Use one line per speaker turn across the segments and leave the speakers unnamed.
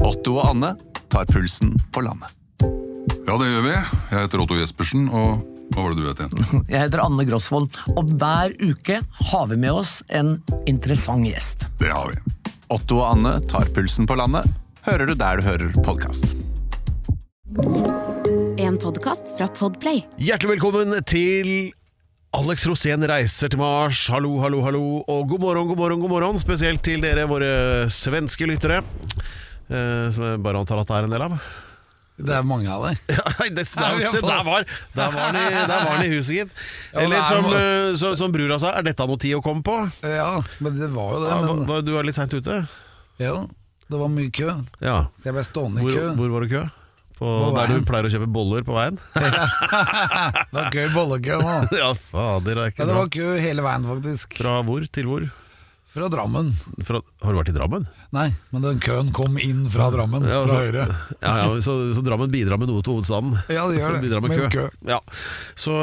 Otto og Anne tar pulsen på landet.
Ja, det gjør vi. Jeg heter Otto Jespersen, og hva var det du het igjen?
Jeg heter Anne Grosvold, og hver uke har vi med oss en interessant gjest.
Det har vi.
Otto og Anne tar pulsen på landet, hører du der du hører podkast.
En podkast fra Podplay.
Hjertelig velkommen til Alex Rosén reiser til Mars. Hallo, hallo, hallo. Og god morgen, god morgen, god morgen. Spesielt til dere, våre svenske lyttere. eh, som jeg bare antar at det er en del av.
Det er mange av dere.
Ja, det, der,
vi har
se,
fått-
der var der var den i- der var den i huset, gitt.
Ja,
Eller
det er
som,
noe-
eh, som, som brura sa, er dette noe tid å komme på?
Ja, men det var jo det.
Ja,
men,
hva- Du er litt seint ute?
ja, det var mye kø,
Ja.
så jeg ble stående i
Hvor,
kø.
hvor var det kø? På,
På
der du
veien.
pleier å kjøpe boller på veien?
Det var kø i bollekø nå.
ja, fader. Det er ikke
Ja, det
bra.
var kø hele veien, faktisk.
Fra hvor til hvor?
Fra Drammen.
Fra, har du vært i Drammen?
Nei, men den køen kom inn fra Drammen,
Ja, altså.
fra
så-
høyre.
Ja, ja, så, så Drammen bidrar med noe til hovedstaden.
Ja, det gjør det.
Bidrar med kø.
Med kø.
Ja. Så,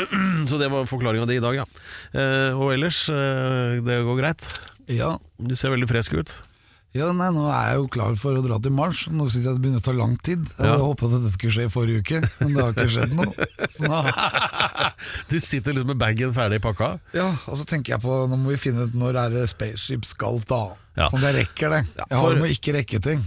så det var forklaringa di i dag, ja. Eh, og ellers, eh, det går greit?
Ja.
Du ser veldig frisk ut.
ja, nei, nå er jeg jo klar for å dra til Mars. Nå synes jeg det begynner å ta lang tid. Jeg
Ja.
hadde håpet at dette skulle skje i forrige uke, men det har ikke skjedd noe. Så nå,
Du sitter liksom med bagen ferdig pakka.
ja, og så tenker jeg på, nå må vi finne ut når er det Spaceship skal ta.
Ja.
Sånn, jeg rekker det.
Ja,
Jeg har
for-
med å ikke rekke ting.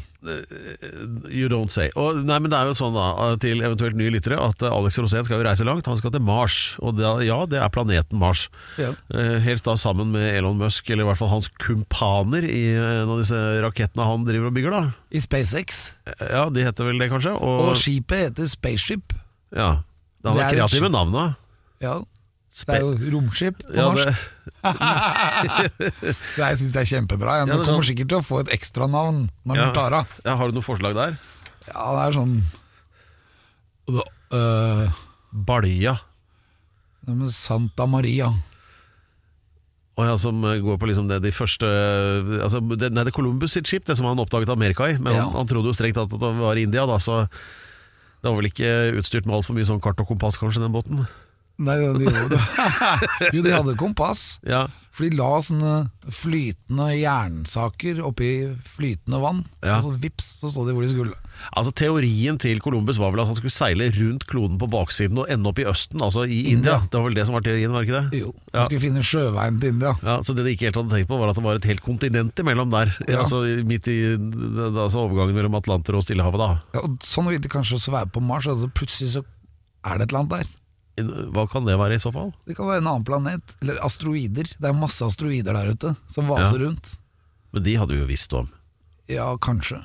You don't say. Og, nei, men det er jo sånn da, til eventuelt nye lyttere, at eh, Alex Rosén skal jo reise langt. Han skal til Mars. Og da, ja, det er planeten Mars.
Ja.
Eh, helst da sammen med Elon Musk, eller i hvert fall hans kumpaner i eh, en av disse rakettene han driver og bygger, da.
I SpaceX.
Eh, Ja, de heter vel det, kanskje?
Og skipet heter Spaceship.
Ja. Da
Det
var
er et
kreative
skip.
navnet.
Ja, det er jo romskip på
ja,
norsk.
det,
Det er- Jeg syns det er kjempebra.
Ja,
Jeg.
det
Du
er
kommer
sant.
sikkert til å få et ekstranavn når
ja.
du tar av.
Ja, har du noe forslag der?
Ja, det er sånn Og da, øh,
Balja.
det med Santa Maria.
Og ja, som eh, går på liksom det de første eh, altså, det, Nei, det er Columbus sitt skip, det som han oppdaget Amerika i. Men
Ja.
han, han trodde jo strengt tatt at det var India, da, så det var vel ikke utstyrt med altfor mye sånn kart og kompass, kanskje, den båten.
Nei, de, jo, de, jo, de hadde kompass.
Ja,
For de la sånne flytende jernsaker oppi flytende vann,
Ja.
og så vips, så stod de hvor de skulle.
altså Teorien til Columbus var vel at han skulle seile rundt kloden på baksiden og ende opp i Østen, altså i India.
India.
Det var vel det som var teorien, var det ikke det?
Jo,
Ja.
De skulle finne sjøveien til India.
Ja, Så det de ikke helt hadde tenkt på, var at det var et helt kontinent imellom der.
Ja.
Altså Midt i d- d- altså, overgangen mellom Atlanter og Stillehavet, da.
Ja, og sånn vil de kanskje også være på Mars, og så plutselig så er det et eller annet der.
Hva kan det være i så fall?
Det kan være en annen planet, eller asteroider. Det er masse asteroider der ute som vaser rundt.
Men de hadde vi jo visst om.
Ja, kanskje.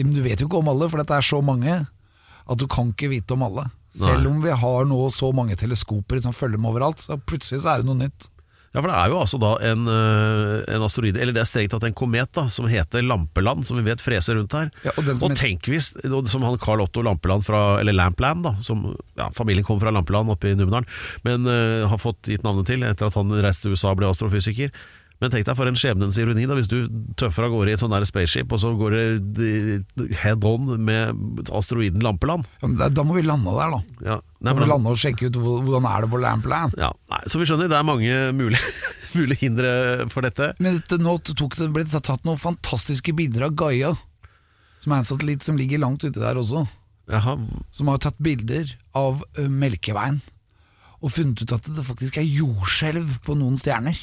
Men du vet jo ikke om alle, for dette er så mange at du kan ikke vite om alle. Selv
Nei.
om vi har nå så mange teleskoper som følger med overalt, så plutselig så er det noe nytt.
Ja, for det er jo altså da en, øh, en asteroide, eller det er strengt tatt en komet da, som heter Lampeland, som vi vet freser rundt her.
Ja, og den som
og
heter-
tenk hvis, og som han Carl Otto Lampeland fra, eller Lampland da, som ja, familien kom fra Lampeland oppe i Numedalen, men øh, har fått gitt navnet til etter at han reiste til USA og ble astrofysiker. Men tenk deg for en skjebnens ironi da, hvis du tøffer av gårde i et sånn der spaceship, og så går det d- head on med asteroiden Lampeland.
Ja, men da, da må vi lande der, da.
Ja,
Da
nei,
må
men-
vi lande og sjekke ut hvor- hvordan er det på Lampland.
ja, nei, så vi skjønner, det er mange mulige, mulige hindre for dette.
Men dette- nå tok det, ble det tatt noen fantastiske bilder av Gaia, som er en satellitt som ligger langt ute der også.
Jaha,
som har tatt bilder av ø, Melkeveien og funnet ut at det faktisk er jordskjelv på noen stjerner.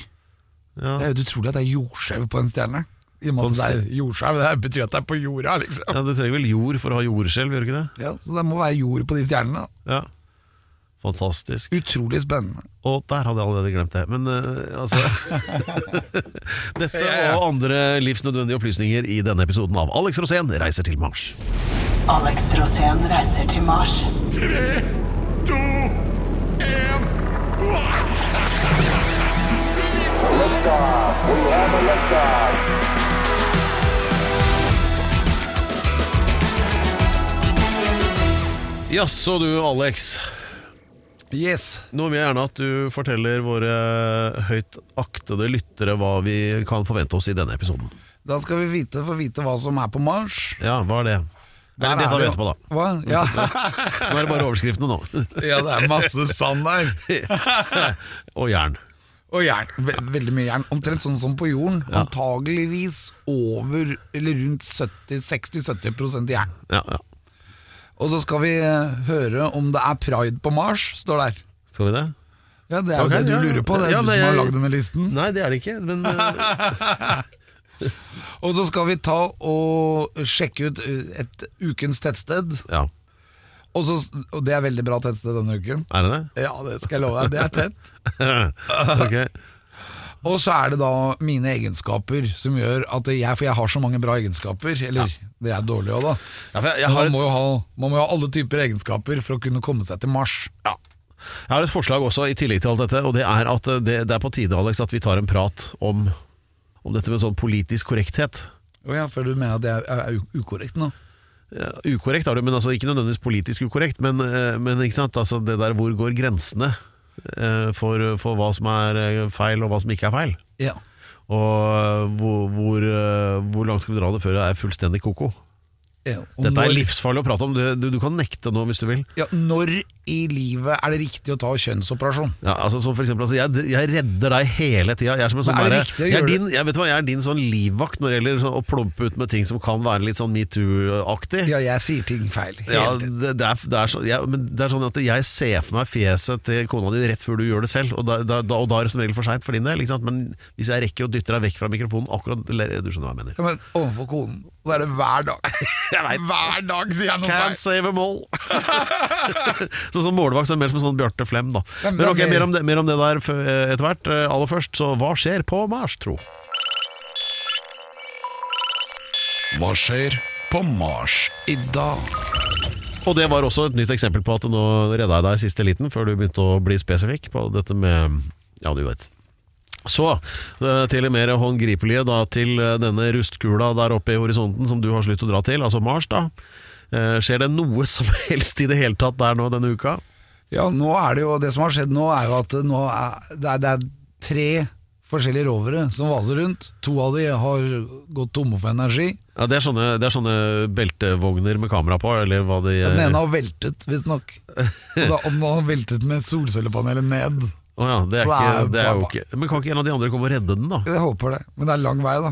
Ja.
Det er jo utrolig at det er jordskjelv på en stjerne. I og med
På en
at det er jordskjelv, det betyr at det er på jorda, liksom.
Ja, Du trenger vel jord for å ha jordskjelv, gjør du ikke det?
Ja, så det må være jord på de stjernene.
Ja. Fantastisk.
Utrolig spennende.
Og der hadde jeg allerede glemt det. Men eh, altså Dette og andre livsnødvendige opplysninger i denne episoden av Alex Rosén reiser til Mars.
Alex Rosén reiser til Mars.
Jaså du, Alex.
Yes.
Nå vil jeg gjerne at du forteller våre høyt aktede lyttere hva vi kan forvente oss i denne episoden.
Da skal vi vite, få vite hva som er på Mars.
Ja, hva er det?
Der
Eller det
er
tar vi
jo-
etterpå, da.
Hva? Ja.
Nå er det bare overskriftene nå.
ja, det er masse sand der.
og jern.
Og jern. Ve veldig mye jern. Omtrent sånn som på jorden. Antageligvis over eller rundt 70 60-70 jern.
Ja, ja.
Og så skal vi eh, høre om det er pride på Mars, står der.
Skal vi det?
Ja, Det er jo
Ok,
det du
ja.
lurer på. Det er
Ja,
du
det-
som har lagd denne listen.
Nei, det er det ikke. Men eh,
Og så skal vi ta og sjekke ut eh, et ukens tettsted.
ja,
Og, så, og det er veldig bra tettsted denne uken.
er det det?
Ja, det skal jeg love deg. Det er tett.
ok.
Og så er det da mine egenskaper som gjør at jeg For jeg har så mange bra egenskaper. Eller det er dårlig òg, da.
Ja, for jeg, jeg,
Men
har
man,
et,
må jo ha, man må jo ha alle typer egenskaper for å kunne komme seg til Mars.
ja. jeg har et forslag også, i tillegg til alt dette. Og det er at eh, det, det er på tide, Alex, at vi tar en prat om, om dette med sånn politisk korrekthet.
Å ja, for du mener at det er, er u- ukorrekt nå?
Ja, ukorrekt er det, men altså, ikke nødvendigvis politisk ukorrekt. Men, eh, men ikke sant? Altså, det der hvor går grensene eh, for, for hva som er eh, feil, og hva som ikke er feil?
Ja.
Og eh, hvor, hvor, eh, hvor langt skal vi dra det før det er fullstendig koko?
ja. Og
Dette er
når-
livsfarlig å prate om. Du, du, du kan nekte nå hvis du vil.
Ja, når i livet er det riktig å ta kjønnsoperasjon?
Ja, altså som for eksempel, altså, jeg, jeg redder deg hele tida. Jeg er, som en sånn
Men er det
derre-
riktig å
jeg, er
gjøre
din, jeg, vet du hva, jeg er din sånn livvakt når det gjelder sånn, å plumpe ut med ting som kan være litt sånn metoo-aktig.
Ja, jeg sier ting feil. hele
Ja,
tiden.
det, det, er, det, er så, jeg, men det er sånn at jeg ser for meg fjeset til kona di rett før du gjør det selv, og da, da, da, og da er det som regel for seint for din del. Ikke sant? Men hvis jeg rekker å dytte deg vekk fra mikrofonen akkurat eller, Du skjønner hva jeg mener.
Ja, men overfor konen, da er det hver dag. Hver dag sier jeg noe feil.
Can't save them all! så som målvakt så er det mer som en sånn Bjarte Flem, da.
Ja, men
Men
det er
ok,
mer-
mer om det, mer om det der f- etter hvert. Eh, Aller først, så hva skjer på Mars, tro?
Hva skjer på Mars i dag?
Og det var også et nytt eksempel på at nå redda jeg deg i siste liten, før du begynte å bli spesifikk på dette med Ja, du vet. Så eh, til det mer håndgripelige, da, til eh, denne rustkula der oppe i horisonten som du har slutt å dra til, altså Mars, da. Eh, Skjer det noe som helst i det hele tatt der nå denne uka?
Ja, nå er det jo Det som har skjedd nå, er jo at det nå er, det, er, det er tre forskjellige rovere som vaser rundt. To av de har gått tomme for energi.
Ja, det, er sånne, det er sånne beltevogner med kamera på, eller hva de
Den ene har veltet, visstnok. Og da- og den har veltet med solcellepanelet ned.
Å ja, det er, ikke,
Wow,
det er jo
pappa.
ikke Men kan ikke en av de andre komme og redde den, da?
Jeg håper det, men det er lang vei, da.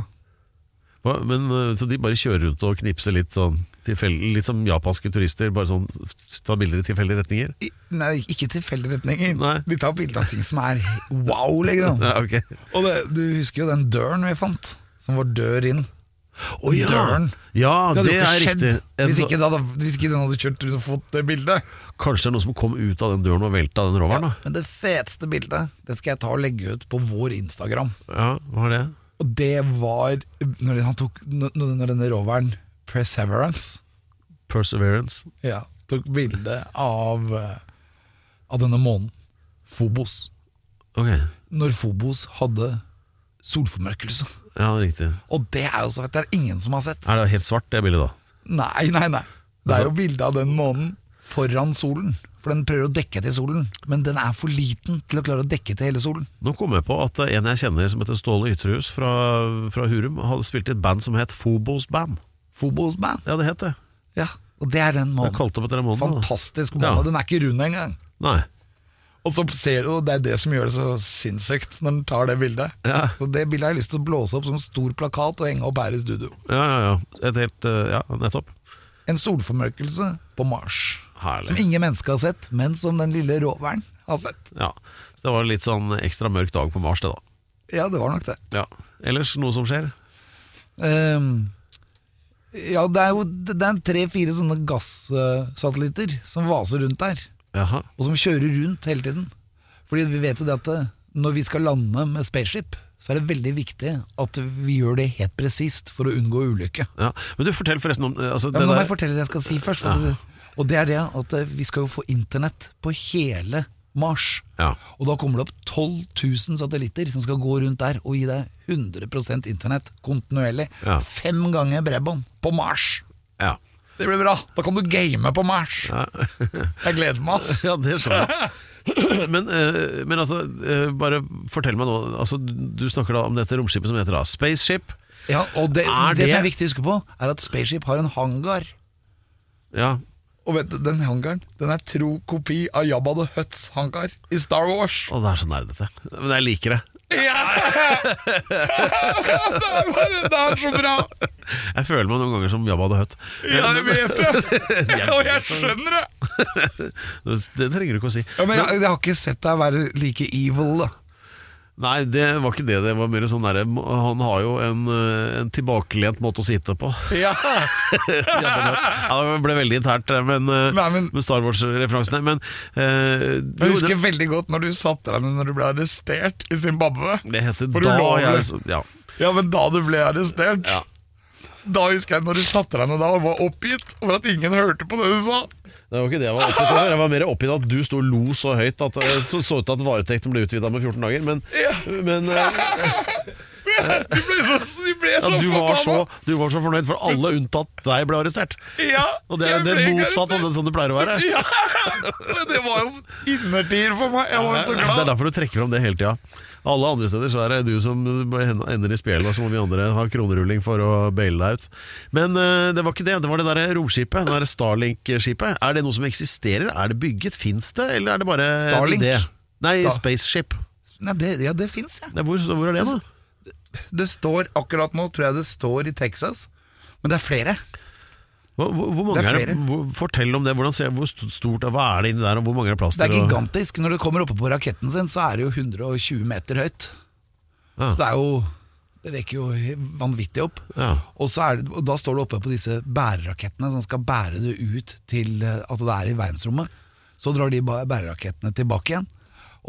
Hva- Men, eh, så de bare kjører rundt og knipser litt sånn tilfeldig, litt som japanske turister, bare sånn f- ta bilder i tilfeldige retninger?
I, nei, ikke tilfeldige retninger.
Nei.
De tar bilde av ting som er wow, liksom.
Ja, ok.
Og det, du husker jo den døren vi fant, som var dør inn.
Å, ja.
Døren.
Ja,
Det hadde
det,
jo
er
ikke skjedd
riktig. En,
hvis,
så-
ikke det hadde, hvis ikke den hadde kjørt rundt og fått det bildet.
Kanskje det er noen som kom ut av den døren og velta den roveren, da?
Men det feteste bildet Det skal jeg ta og legge ut på vår Instagram.
Ja, hva er det?
Og det var når, han tok, når når denne roveren Perseverance
Perseverance.
ja, tok bilde av, eh, av denne månen, Phobos.
Ok,
Når Phobos hadde solformørkelse.
ja, riktig.
Og det er jo så fett. Det er ingen som har sett.
Er det helt svart, det bildet, da?
Nei, nei, nei. Det er jo bilde av den månen foran solen. For den prøver å dekke til solen, men den er for liten til å klare å dekke til hele solen.
Nå kom jeg på at eh, en jeg kjenner som heter Ståle Ytterhus fra, fra Hurum, hadde spilt i et band som het Phobos Band.
Phobos man.
Ja, det het det.
Ja, og det er den
Jeg
månen.
kalte opp etter den måneden. da.
Fantastisk måne.
Ja.
Den er ikke rund engang.
Nei.
Og så ser du, og det er det som gjør det så sinnssykt når den tar det bildet.
Ja.
Så Det bildet har jeg lyst til å blåse opp som en stor plakat og henge opp her i studio.
Ja, ja, ja. Et helt eh, Ja, nettopp.
En solformørkelse på Mars.
Herlig.
Som ingen mennesker har sett, men som den lille roveren har sett.
Ja. Så det var en litt sånn ekstra mørk dag på Mars, det da.
Ja, det var nok det.
Ja. Ellers noe som skjer?
Ehm, ja, det er jo det er tre-fire sånne gassatellitter som vaser rundt der,
Jaha.
og som kjører rundt hele tiden. Fordi vi vet jo det at eh, når vi skal lande med spaceship, så er det veldig viktig at vi gjør det helt presist for å unngå ulykke.
Ja. Men du, fortell forresten om eh, altså,
Ja,
det
men nå må
der-
jeg fortelle det jeg skal si først. For det, og det er det at eh, vi skal jo få internett på hele Mars.
Ja.
Og da kommer det opp 12 000 satellitter som skal gå rundt der og gi deg 100 internett kontinuerlig.
Ja.
Fem ganger bredbånd på Mars.
Ja.
Det blir bra! Da kan du game på Mars. jeg gleder meg, ass.
ja, det skjønner jeg. Men, eh, men altså, eh, bare fortell meg nå altså, Du snakker da om dette romskipet som heter da Spaceship.
Ja, og det,
Er
det
det-
som er viktig å huske på, er at Spaceship har en hangar.
Ja.
Og vet du, den hangaren Den er tro kopi av Jabba the Hutts hangar i Star Wars.
Å, det er så nerdete. Men jeg liker det.
Ja! det, er bare, det er så bra!
Jeg føler meg noen ganger som Jabba the Hutt.
Ja, jeg vet det! Og jeg skjønner det!
Det trenger du ikke å si.
Ja, men jeg, jeg har ikke sett deg være like evil, da.
Nei, det var ikke det. Det var mer sånn derre Han har jo en, eh, en tilbakelent måte å sitte på.
Ja.
Jabba the Hutt. Ja, det ble veldig internt, men, eh,
Nei, men-
med Star Wars-referansene. Men eh,
Jeg
jo,
husker
det,
veldig godt når du satte deg ned når du ble arrestert i Zimbabwe.
det heter
For du
da
lover.
jeg ja.
Ja, men da du ble arrestert
Ja.
Da husker jeg når du satte deg ned da og var oppgitt over at ingen hørte på det du sa.
Det var ikke det jeg var oppgitt over. Jeg var mer oppgitt av at du sto og lo så høyt at det så, så ut til at varetekten ble utvida med 14 dager. Men, men eh,
De ble så, de ble
ja,
så
du, var så,
forbanna.
du var så fornøyd, for alle unntatt deg ble arrestert.
Ja,
Og det
jeg
er det er
ble
motsatt av det som det pleier å være.
Ja, men det var jo innertier for meg. Jeg var så
Det er
glad.
derfor du trekker fram det hele tida. Alle andre steder så er det du som ender i spjelet, og så må vi andre ha kronerulling for å baile deg ut. Men eh, det var ikke det. Det var det derre romskipet, det derre Starlink-skipet. Er det noe som eksisterer? Er det bygget? Fins det, eller er det bare en
Starlink?
idé? Nei,
Sta-
spaceship.
Nei, det, ja, det fins, ja.
Nei, Hvor, hvor er det, da?
Det står akkurat nå, tror jeg det står i Texas. Men det er flere.
Hvor, hvor, hvor mange
Det er
er det
flere.
hvor, fortell om det. Hvordan ser, hvor st- stort er, hva er det inni der, og hvor mange er det plass
Det er
til? og-
gigantisk. Når du kommer oppe på raketten sin, så er det jo 120 meter høyt.
Ja.
Så det er jo Det rekker jo vanvittig opp.
Ja.
Og, så er det, og da står du oppe på disse bærerakettene som skal bære det ut til eh, at det er i verdensrommet. Så drar de ba- bærerakettene tilbake igjen,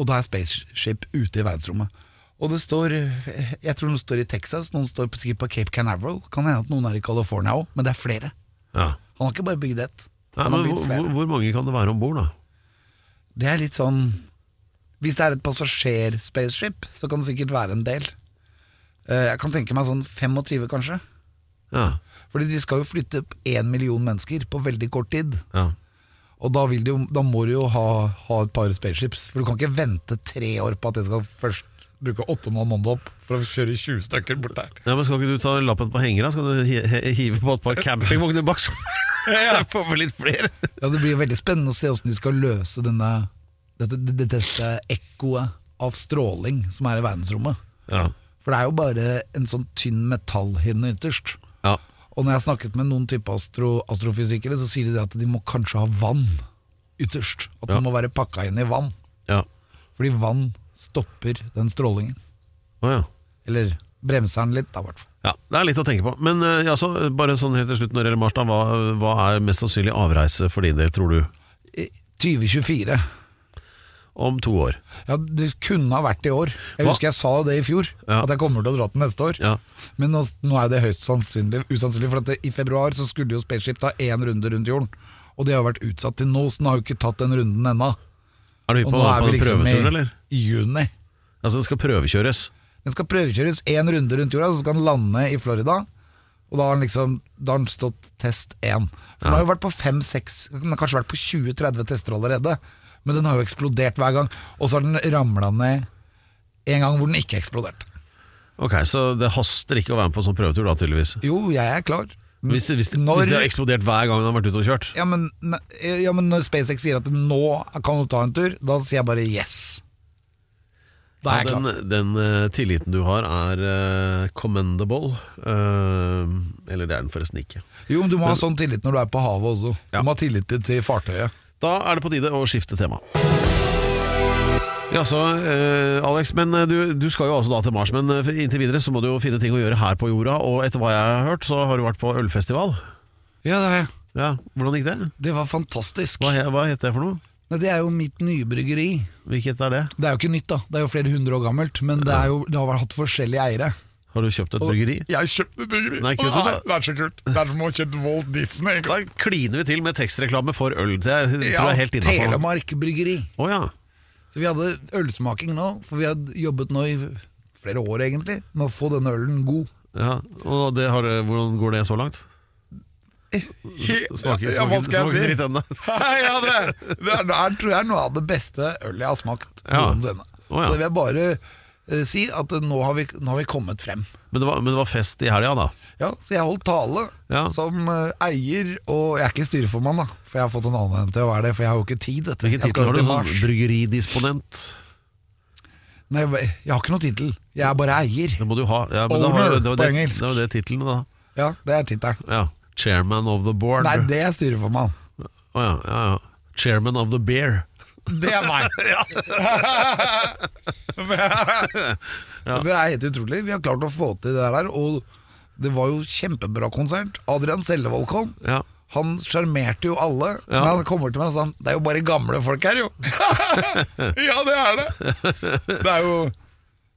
og da er Spaceship ute i verdensrommet. Og det står eh, Jeg tror noen står i Texas, noen står på- sikkert på Cape Canaveral. Kan hende at noen er i California òg, men det er flere.
Ja.
Han har ikke bare bygd ett.
Nei,
Han har
men,
bygd
hvor,
flere.
hvor, hvor mange kan det være om bord, da?
Det er litt sånn Hvis det er et passasjer-spaceship, så kan det sikkert være en del. Eh, Jeg kan tenke meg sånn 25, kanskje.
Ja.
Fordi vi skal jo flytte opp én million mennesker på veldig kort tid.
ja.
Og da, vil det jo, da må du jo ha, ha et par spaceships. For du kan ikke vente tre år på at jeg skal først bruke åtte og en halv måned opp for å kjøre 20 stykker bort der.
ja, men Skal ikke du ta lappen på hengeren? da? Skal du hi- hi- hive på et par campingvogner bak? Så får vi litt flere.
Ja, Det blir jo veldig spennende å se åssen de skal løse denne, dette, dette, dette ekkoet av stråling som er i verdensrommet.
Ja.
For det er jo bare en sånn tynn metallhinne ytterst.
ja.
Og når jeg har snakket med noen type astro, astrofysikere, så sier de det at de må kanskje ha vann ytterst. At
Ja.
den må være pakka inn i vann.
ja.
Fordi vann stopper den strålingen.
Å ja.
Eller bremser den litt, da, i hvert fall.
Ja, Det er litt å tenke på. Men eh, ja, så, eh, bare sånn helt til slutt når det gjelder Mars, da, hva, hva er mest sannsynlig avreise for din del, tror du?
I 2024.
Om to år.
Ja, Det kunne ha vært i år. Jeg
Hva?
husker jeg sa det i fjor,
Ja.
at jeg kommer til å dra til neste år.
Ja.
Men nå, nå er det høyst sannsynlig, usannsynlig, for at det, i februar så skulle jo Spaceship ta én runde rundt jorden. Og det har vært utsatt til nå, så den har jo ikke tatt den runden ennå.
Er du hypp
Og
på
nå
å være på
er vi
en
liksom i,
prøvetur, eller?
i juni.
Altså, den skal prøvekjøres.
Den skal prøvekjøres én runde rundt jorda, så skal den lande i Florida. Og da har den liksom Da har den stått test én. For den har jo vært på fem-seks Den har kanskje vært på 20-30 tester allerede. Men den har jo eksplodert hver gang. Og så har den ramla ned en gang hvor den ikke eksploderte.
Ok, Så det haster ikke å være med på en sånn prøvetur, da, tydeligvis?
Jo, jeg er klar. Men
Hvis, hvis,
Når-
hvis det har eksplodert hver gang den har vært ute og kjørt?
ja, men, ne- ja, men når SpaceX sier at nå kan du ta en tur, da sier jeg bare yes. Da er jeg
Ja,
klar.
den, den eh, tilliten du har, er eh, commendable. Eh, eller det er den forresten ikke.
Jo, men du må ha sånn tillit når du er på havet også.
Ja.
Du må ha tillit til- til fartøyet.
Da er det på tide å skifte tema. Jaså, eh, Alex, men eh, du, du skal jo altså da til Mars. Men eh, inntil videre så må du jo finne ting å gjøre her på jorda. Og etter hva jeg har hørt, så har du vært på ølfestival.
Ja, det, er-
Ja, Hvordan gikk det?
det var fantastisk.
Hva, he- hva het det for noe?
Nei, det er jo mitt nye bryggeri.
Hvilket er det?
Det er jo ikke nytt, da. Det er jo flere hundre år gammelt. Men det, er jo, det har vært hatt forskjellige eiere.
Har du kjøpt et bryggeri?
Jeg kjøpte bryggeri!
Nei, kult, da.
det er så kult. Det er som å kjøpe Walt Disney.
Da kliner vi til med tekstreklame for øl. Det er- tror jeg er helt innafor.
Telemark bryggeri.
Å ja.
Så vi hadde ølsmaking nå, for vi hadde jobbet nå i flere år, egentlig, med å få denne ølen god.
ja. Og det har, eh, hvordan går det så langt? Smaker,
Ja, hva
smaker,
skal
smaker
jeg si?
dritt ennå.
Nei, ja, det, det er, det er, tror jeg er noe av det beste ølet jeg har smakt
Ja.
noensinne.
Å, ja.
Så Det vil jeg bare eh, si, at eh, nå har, vi, nå har vi kommet frem.
Men det var, men det var fest i helga, da.
Ja, så jeg holdt tale
Ja.
som eh, eier, og jeg er ikke styreformann, da. For jeg har fått en annen til å være det, for jeg har jo ikke tid. Vet du.
Hvilken
Jeg skal
tittel
jo
har du? Sånn,
til Mars.
bryggeridisponent?
Nei, jeg jeg har ikke noen tittel. Jeg er bare eier.
Det må du ha. Ja, men da har
Owner
du, det var
på
det,
engelsk.
det, var det tittelen, da.
Ja, det er tittelen.
Ja. Chairman of the board.
Nei, det er styreformann.
Å ja, ja, ja. Chairman of the beer.
Det er meg. Men Det er helt utrolig. Vi har klart å få til det der, og det var jo kjempebra konsert. Adrian Sellevold kom.
Ja.
Han sjarmerte jo alle.
Ja.
Men han kommer til meg og sa Det er jo bare gamle folk her, jo. ja, det er det. Det er jo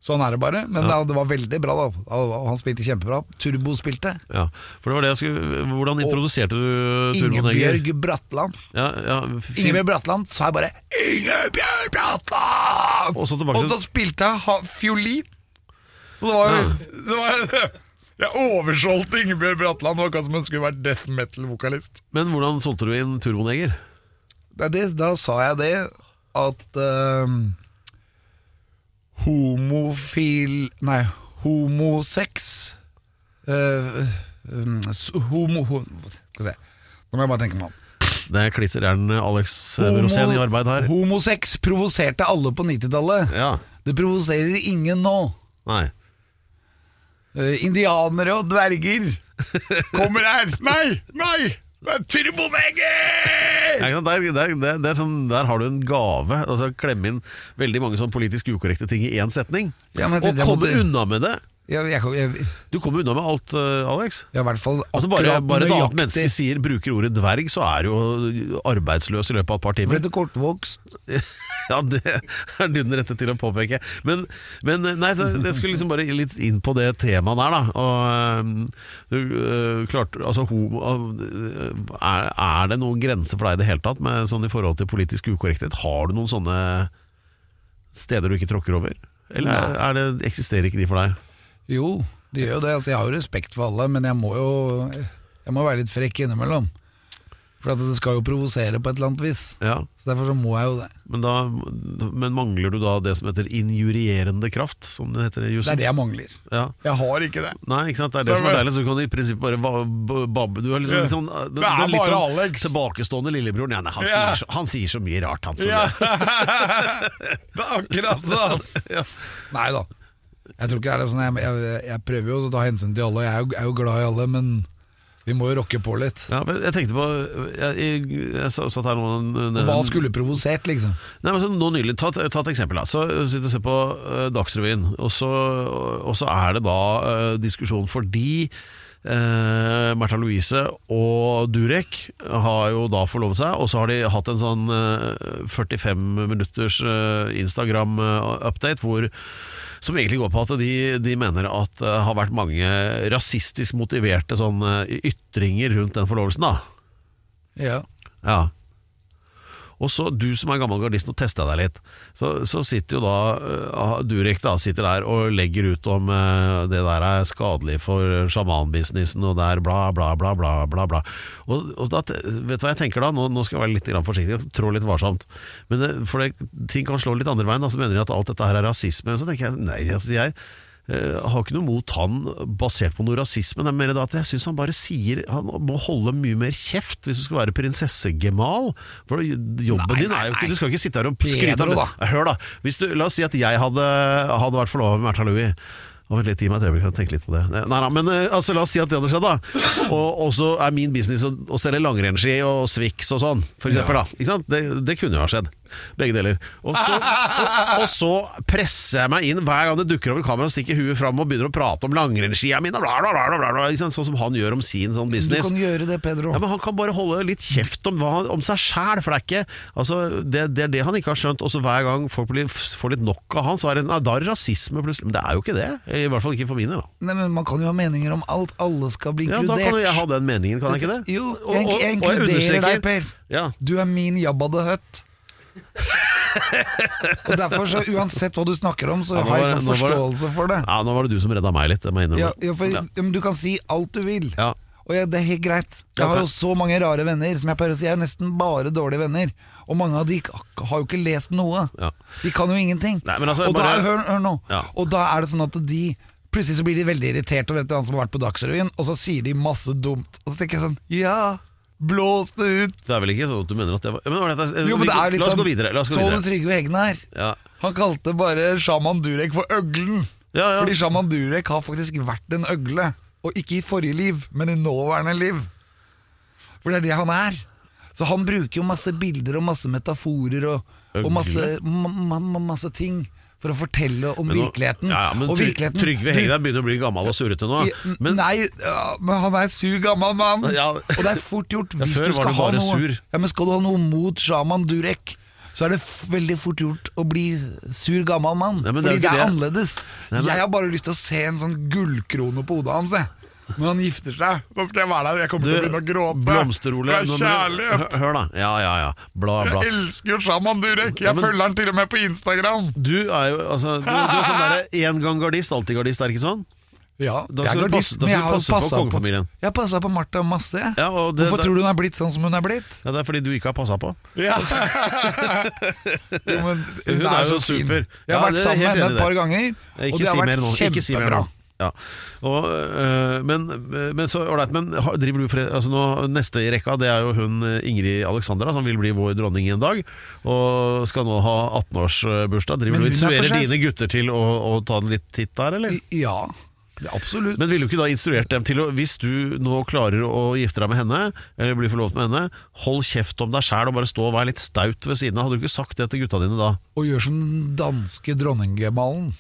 Sånn er det bare. Men det- det var veldig bra, da. Og Han spilte kjempebra. Turbo spilte.
Ja, for det var det jeg skulle Hvordan introduserte du Turbo Neger?
Ingebjørg Bratland.
Ja, ja, fin-
Ingebjørg Bratland sa jeg bare 'Ingebjørg Bratland!'
Og så tilbake til-
Og så spilte jeg ha- fiolin. Så det var, det var Jeg oversolgte Ingebjørg Bratland. Det var akkurat som hun skulle vært death metal-vokalist.
Men hvordan solgte du inn Turbo Neger?
Da, det- da sa jeg det at ehm, Homofil Nei, homosex eh, um, s- Homo... ho- Skal vi se. Nå må jeg bare tenke meg om.
Det er klitter gæren Alex Rosén i arbeid her.
Homosex provoserte alle på 90-tallet.
Ja,
Det provoserer ingen nå.
nei
Eh, indianere og dverger kommer her. Nei, nei! Det er Turboneger!
Ja, ikke sant? der, der, der, der, sånn, der har du en gave. Altså Klemme inn veldig mange sånn politisk ukorrekte ting i én setning.
Ja, men
og
jeg tenkte jeg
komme
måtte-
unna med det!
Jeg, jeg, jeg, jeg,
Du kommer unna med alt, eh, Alex.
i hvert fall akkurat
Altså Bare, bare et annet
nøyaktig.
menneske sier bruker ordet dverg, så er du jo arbeidsløs i løpet av et par
Ble
timer.
det kortvokst?
Ja, det er du den rette til å påpeke. Men, men nei, så jeg skulle liksom bare litt inn på det temaet der, da. Og øhm, du øh, klarte Altså, homo øh, er, er det noen grense for deg i det hele tatt, med, sånn i forhold til politisk ukorrekthet? Har du noen sånne steder du ikke tråkker over? Eller er, er det, eksisterer ikke de for deg?
Jo, det gjør jo det. Altså, jeg har jo respekt for alle, men jeg må jo jeg må være litt frekk innimellom. For at det skal jo provosere på et eller annet vis.
Ja,
Så Derfor så må jeg jo det.
men, da, men mangler du da det som heter injurierende kraft, som det heter i
Det er
jussen?
det jeg mangler.
Ja.
Jeg har ikke det.
Nei, ikke sant? det er det som er deilig. Så du kan i prinsippet bare ba- ba- babbe. Du er liksom, liksom, den,
Det er
den litt
bare
sånn
Alex.
tilbakestående lillebroren. Ja, nei, han,
Ja.
sier så, han sier så mye rart, han. som
Ja.
det.
det er akkurat
altså.
sånn.
Ja.
Nei da. Jeg tror ikke det er sånn Jeg, jeg, jeg prøver jo å ta hensyn til alle, og jeg er jo, er jo glad i alle, men vi må jo rocke på litt.
Ja, men jeg tenkte på Jeg, jeg, jeg satt her nå
Og Hva skulle provosert, liksom?
Nei, men så nå nylig, ta, ta et eksempel da Så sitter jeg og ser på eh, Dagsrevyen og så, og så er det da eh, diskusjon fordi eh, Martha Louise og Durek har jo da forlovet seg Og så har de hatt en sånn eh, 45 minutters eh, Instagram-update Hvor som egentlig går på at de, de mener at det har vært mange rasistisk motiverte sånne ytringer rundt den forlovelsen da
Ja.
ja. Og så du som er gammel gardist, nå testa jeg deg litt. Så, så sitter jo da eh, Durek da, sitter der og legger ut om eh, det der er skadelig for sjamanbusinessen og der bla, bla, bla, bla. bla, bla. Og, og da, vet du hva jeg tenker da? Nå, nå skal jeg være litt grann forsiktig, jeg trår litt varsomt. Men det, for det, ting kan slå litt andre veien. Da, så mener de at alt dette her er rasisme. Så tenker jeg nei, altså jeg eh, har ikke noe mot han basert på noe rasisme. Det er mer da at jeg syns han bare sier Han må holde mye mer kjeft hvis du skal være prinsessegemal. For jobben din er jo ikke Du skal ikke sitte her og skryte
Pedro,
av
da.
Hør, da. Hvis du, la oss si at jeg hadde, hadde vært forlova med Märtha Louie. Og vent litt, Gi meg et øyeblikk, jeg tenker litt på det. Nei, nei, men eh, altså, La oss si at det hadde skjedd, da. Og og så er min business å, å selge langrennsski og Swix og sånn, for eksempel. Da. Ikke sant? Det, det kunne jo ha skjedd. Begge deler. Og så, og, og så presser jeg meg inn hver gang det dukker over kamera og stikker huet fram og begynner å prate om langrennsskia mine, og bla, bla, bla, bla, bla, bla, ikke sant? sånn som han gjør om sin sånn
Du
business.
kan gjøre det, Pedro.
Ja, men Han kan bare holde litt kjeft om, hva, om seg sjæl, for det er ikke altså, det, det er det han ikke har skjønt. Og så hver gang folk blir, får litt nok av han, så er det, nei, da er det rasisme plutselig. Men det er jo ikke det. I hvert fall ikke for mine. Da.
Nei, men Man kan jo ha meninger om alt. Alle skal bli
Ja, da
inkludert.
kan jo jeg ha den meningen, kan jeg ikke det?
Jo,
Og-
jeg,
og-
jeg
og
inkluderer
understreker-
deg, Per.
Ja.
Du er min Jabba the Hutt. og derfor, så uansett hva du snakker om, så
Ja, nå
har
var
jeg
det-
sånn
nå var det-
forståelse for det.
ja, nå var det du som redda meg litt, det må jeg
Ja,
innrømme.
ja, for, ja, men du kan si alt du vil.
Ja.
Og jeg, det er helt greit. Jeg
Ja,
har
for-
jo så mange rare venner, som jeg pleier å si. Jeg er nesten bare dårlige venner. Og mange av de k- har jo ikke lest noe.
Ja.
De kan jo ingenting.
Nei, men altså,
og, da
bare-
er, hør, hør nå.
Ja.
og da er det sånn at de Plutselig så blir de veldig irritert over et eller annet som har vært på Dagsrevyen, og så sier de masse dumt. Og så tenker jeg sånn Ja, blås det ut!
Det er vel ikke sånn at du mener at det var, men var dette-
Jo, men det er jo litt
La oss
sånn-
gå videre. La oss gå
Så du
videre.
Trygve Hegnar?
Ja.
Han kalte bare sjaman Durek for øglen.
Ja, ja.
Fordi sjaman Durek har faktisk vært en øgle. Og ikke i forrige liv, men i nåværende liv. For det er det han er. Så han bruker jo masse bilder og masse metaforer og, og masse, ma, ma, ma, masse ting for å fortelle om
Men nå-
virkelighegn.
Ja, ja, men
og
Try-
virkeligheten-
Trygve Hegnar begynner å bli gammel og surrete nå.
I-
Ah, Men
Nei, ja, men han er en sur gammel mann.
Ja.
Og det er fort gjort hvis
før var
du skal
du bare
ha noe
sur.
Ja, men skal du ha noe mot sjaman Durek, så er det f veldig fort gjort å bli sur gammel mann.
Nei, men det er jo
fordi det
ikke
er
det.
annerledes.
Nei, men-
Jeg har bare lyst til å se en sånn gullkrone på hodet hans, jeg. Når han gifter seg. Da skal jeg være der, jeg kommer
du,
til å begynne å gråte.
blomsterole
For det er
nå-
kjærlighet.
Hør- Hør, da. Ja, ja, ja. Bla, bla.
Jeg elsker jo sjaman Durek. Jeg
Ja, men-
følger han til og med på Instagram.
Du er jo altså, du, du er sånn derre én gang gardist, alltid gardist, er det ikke sånn?
Ja,
Da
jeg
skal
er
du
gardist,
passe- da skal
men jeg
du
har jo
passe på
passet
kongefamilien.
Jeg har passa på Martha masse. jeg.
Ja, og det-
Hvorfor
det-
tror du hun er blitt sånn som hun er blitt?
Ja, det er fordi du ikke har passa på.
Ja. jo, men
Hun er jo
så fin.
super.
Jeg har
Ja,
vært
det er
sammen
helt enig
med henne
i
et par
det.
ganger, og
Ikke
det
si
har
mer
vært
nå. Ikke si mer
kjempebra.
nå. Ja. Og, øh, men, men så ålreit, men har- driver du fred, altså nå, Neste i rekka det er jo hun eh, Ingrid Alexandra, som vil bli vår dronning en dag. Og skal nå ha 18-årsbursdag. Driver
Men
du og
hun er for
instruerer
seg.
dine gutter til å, å ta en litt titt der, eller?
Ja, det er absolutt.
Men ville du ikke da instruert dem til å Hvis du nå klarer å gifte deg med henne, eller bli forlovet med henne, hold kjeft om deg sjæl og bare stå og vær litt staut ved siden av. Hadde du ikke sagt det til gutta dine da?
Og gjør som den danske dronningemalen.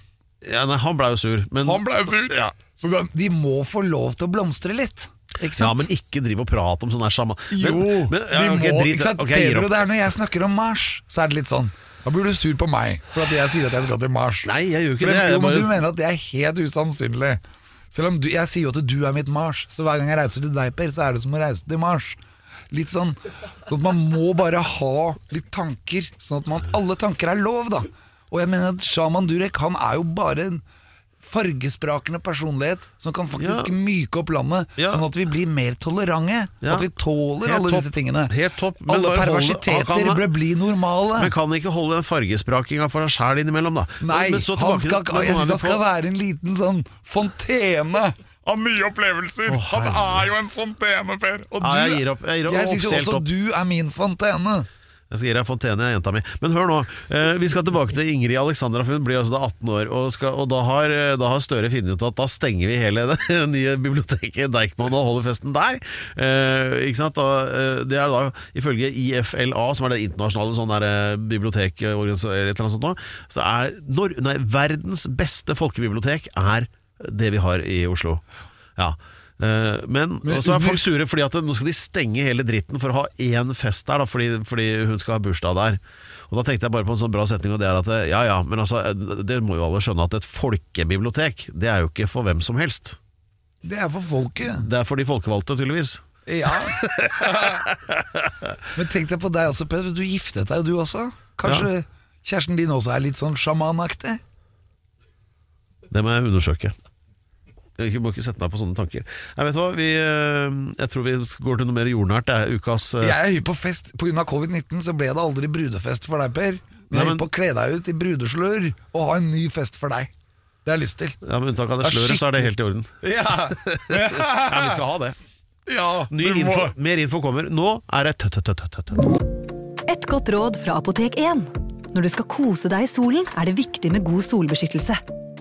Ja, nei, han blei jo sur, men
ble sur!
Ja.
Så de- de må få lov til å blomstre litt. Ikke sant?
Ja, men ikke driv og prat om sånn her samme
Jo, de må ikke sant? Pedro, det er Når jeg snakker om Mars, så er det litt sånn Da blir du sur på meg for at jeg sier at jeg skal til Mars.
Nei, jeg gjør ikke
For
det, jeg
Jo, men
bare-
Du mener at det er helt usannsynlig. Selv om du, jeg sier jo at du er mitt Mars, så hver gang jeg reiser til deg, Per, så er det som å reise til Mars. Litt sånn, sånn at Man må bare ha litt tanker, sånn at man, alle tanker er lov, da. Og jeg mener at Shaman Durek han er jo bare en fargesprakende personlighet som kan faktisk
Ja.
myke opp landet,
Ja.
sånn at vi blir mer tolerante.
Ja.
At vi tåler
Helt
alle
topp.
disse tingene.
Helt topp, men
Alle
bare holde-
perversiteter
han kan-
bør bli normale.
Men kan ikke holde den fargesprakinga for deg sjæl innimellom, da.
Nei,
Men
han
så
skal,
tilbake til- men nå
jeg
er
syns
vi
han skal
på-
være en liten sånn fontene av nye opplevelser. han er jo en fontene, Per. Og
Ja, jeg gir opp. Jeg gir opp.
Jeg syns jo
Offisielt
også
opp.
du er min fontene.
Jeg skal gi deg fontene, jenta mi. Men hør nå. Eh, vi skal tilbake til Ingrid Alexandra, for hun blir altså da 18 år. Og, skal, og da, har, eh, da har Støre funnet ut at da stenger vi hele det nye biblioteket Deichman og holder festen der. Eh, ikke sant? Da, eh, det er da ifølge IFLA, som er det internasjonale sånn der, eh, bibliotek eh, organisa- eller et eller annet sånt nå, så er Nor nei, verdens beste folkebibliotek er det vi har i Oslo. Ja. Eh, Men,
Men
og så er
under-
folk sure fordi at nå skal de stenge hele dritten for å ha én fest der, da, fordi, fordi hun skal ha bursdag der. Og Da tenkte jeg bare på en sånn bra setning, og det er at eh, ja ja, men altså, eh, det må jo alle skjønne at et folkebibliotek, det er jo ikke for hvem som helst.
Det er for folket.
Det er for de folkevalgte, tydeligvis.
Ja. Men tenk deg på deg også, Peder. Du giftet deg, du også. Kanskje kjæresten din også er litt sånn sjamanaktig?
Det må jeg undersøke. Jeg må ikke sette meg på sånne tanker. Nei, vet du hva, vi, eh, jeg tror vi går til noe mer jordnært. Det er ukas eh,
Jeg er hypp på fest. Pga. covid-19 så ble det aldri brudefest for deg, Per. Men
Nei,
jeg er
men-
hypp på å kle deg ut i brudeslør og ha en ny fest for deg. Det har jeg lyst til.
ja, Med unntak av det
Ja,
sløret, så er det helt i orden.
Ja,
Ja, vi skal ha det. Ny
du må-
info, mer info kommer. Nå er det tøtt-tøtt-tøtt.
Et godt råd fra Apotek 1. Når du skal kose deg i solen, er det viktig med god solbeskyttelse.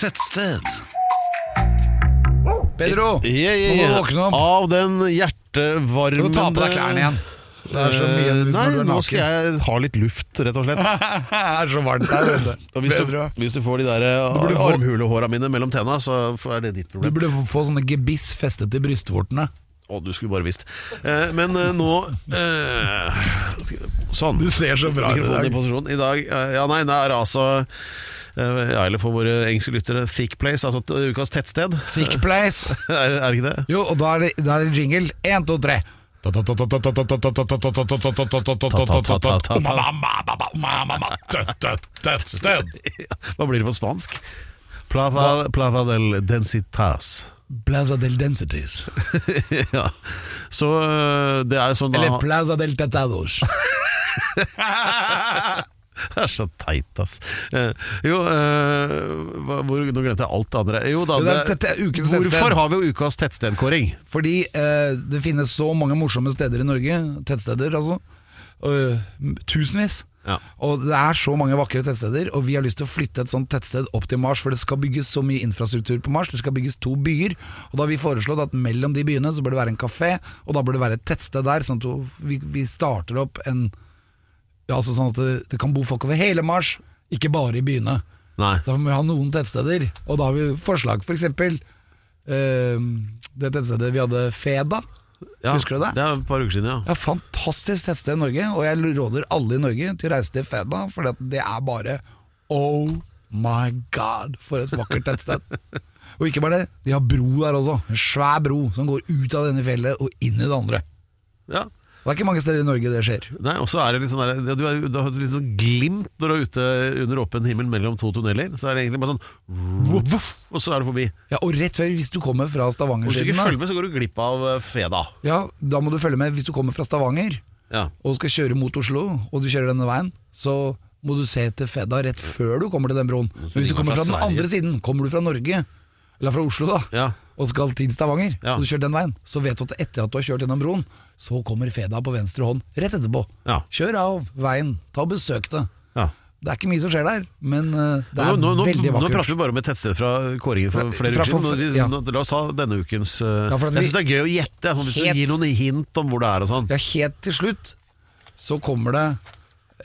Tettsted. Pedro,
Ja, ja,
nå må du
ja.
våkne opp.
Av den hjertevarmende
Du må ta på deg klærne igjen. Det er så mye
Eh,
hvis
Nei,
når du er
nå skal
naken.
jeg ha litt luft, rett og slett.
Det er så varmt der ute.
Og hvis, du,
Pedro,
hvis du får de der
burde
eh,
få-
armhulehåra mine mellom tenna, så er det ditt
Du
problem.
burde få sånne gebiss festet til brystvortene.
Å, du skulle bare visst. Eh, Men eh, nå eh, skal- Sånn.
Du ser så bra ut i
Mikrofonen i
dag.
posisjon. I dag eh, Ja, nei, det er altså Eh, Ja, eller for våre engelske lyttere, Thick Place, altså t- ukas tettsted.
Thick place.
Er, er ikke det?
Jo, og da er det, da er det jingle. Én, to, tre.
Hva blir det på spansk? Plaza, plaza del densitas.
Plaza del Densities.
ja. Så eh, det er sånn da-
Eller Plaza del Tatados.
Det er så teit, ass. Eh, jo, eh, hva- hvor, nå glemte jeg alt det andre. Jo da,
Jo, det er
det,
tett- ukens tettsted.
hvorfor har vi jo ukas tettstedkåring?
Fordi eh, det finnes så mange morsomme steder i Norge. Tettsteder, altså. Og, eh, tusenvis.
Ja.
Og det er så mange vakre tettsteder, og vi har lyst til å flytte et sånt tettsted opp til Mars, for det skal bygges så mye infrastruktur på Mars. Det skal bygges to byer, og da har vi foreslått at mellom de byene så bør det være en kafé, og da bør det være et tettsted der, sånn at vi, vi starter opp en ja, altså Sånn at det, det kan bo folk over hele Mars, ikke bare i byene.
Nei.
Så da må vi ha noen tettsteder, og da har vi forslag, f.eks. For eksempel, eh, det tettstedet vi hadde Feda.
Ja,
Husker du det?
Det er et par uker siden, ja.
Ja, fantastisk tettsted i Norge, og jeg råder alle i Norge til å reise til Feda, for det er bare oh my god, for et vakkert tettsted. og ikke bare det, de har bro der også, en svær bro som går ut av det ene fjellet og inn i det andre.
ja.
Det er ikke mange steder i Norge det skjer.
Nei, og så er det litt sånn der, du, er, du har et litt sånn glimt når du er ute under åpen himmel mellom to tunneler. Så er det egentlig bare sånn voff, voff, Og så er du forbi.
Ja, og rett før, hvis du kommer fra
Hvis du
Stavanger-siden
ikke
da-
følger med, så går du glipp av eh, Feda.
Ja, da må du følge med. Hvis du kommer fra Stavanger
Ja.
og skal kjøre mot Oslo, og du kjører denne veien, så må du se til Fedda rett før du kommer til den broen. Men hvis du
ringer
kommer
fra
fra den
Sverige.
andre siden, kommer du fra Norge, eller fra Oslo da,
Ja.
og skal til Stavanger,
Ja.
og du kjører den veien, så vet du at etter at du har kjørt gjennom broen, så kommer Fedda på venstre hånd rett etterpå.
Ja.
Kjør av veien, ta og besøk det.
ja.
Det er ikke mye som skjer der, men eh, det
Nå,
er
nå, nå, nå
veldig vakkert.
prater vi bare om et tettsted fra kåringen for flere
Fra-
uker siden.
for-
Nå-
ja.
nå- La oss ta denne ukens eh,
Ja, for at
Jeg
vi-
syns det er gøy å gjette. jeg, Sånn, hvis
Helt-
du gir noen hint om hvor det er og sånn.
Ja, helt til slutt så kommer det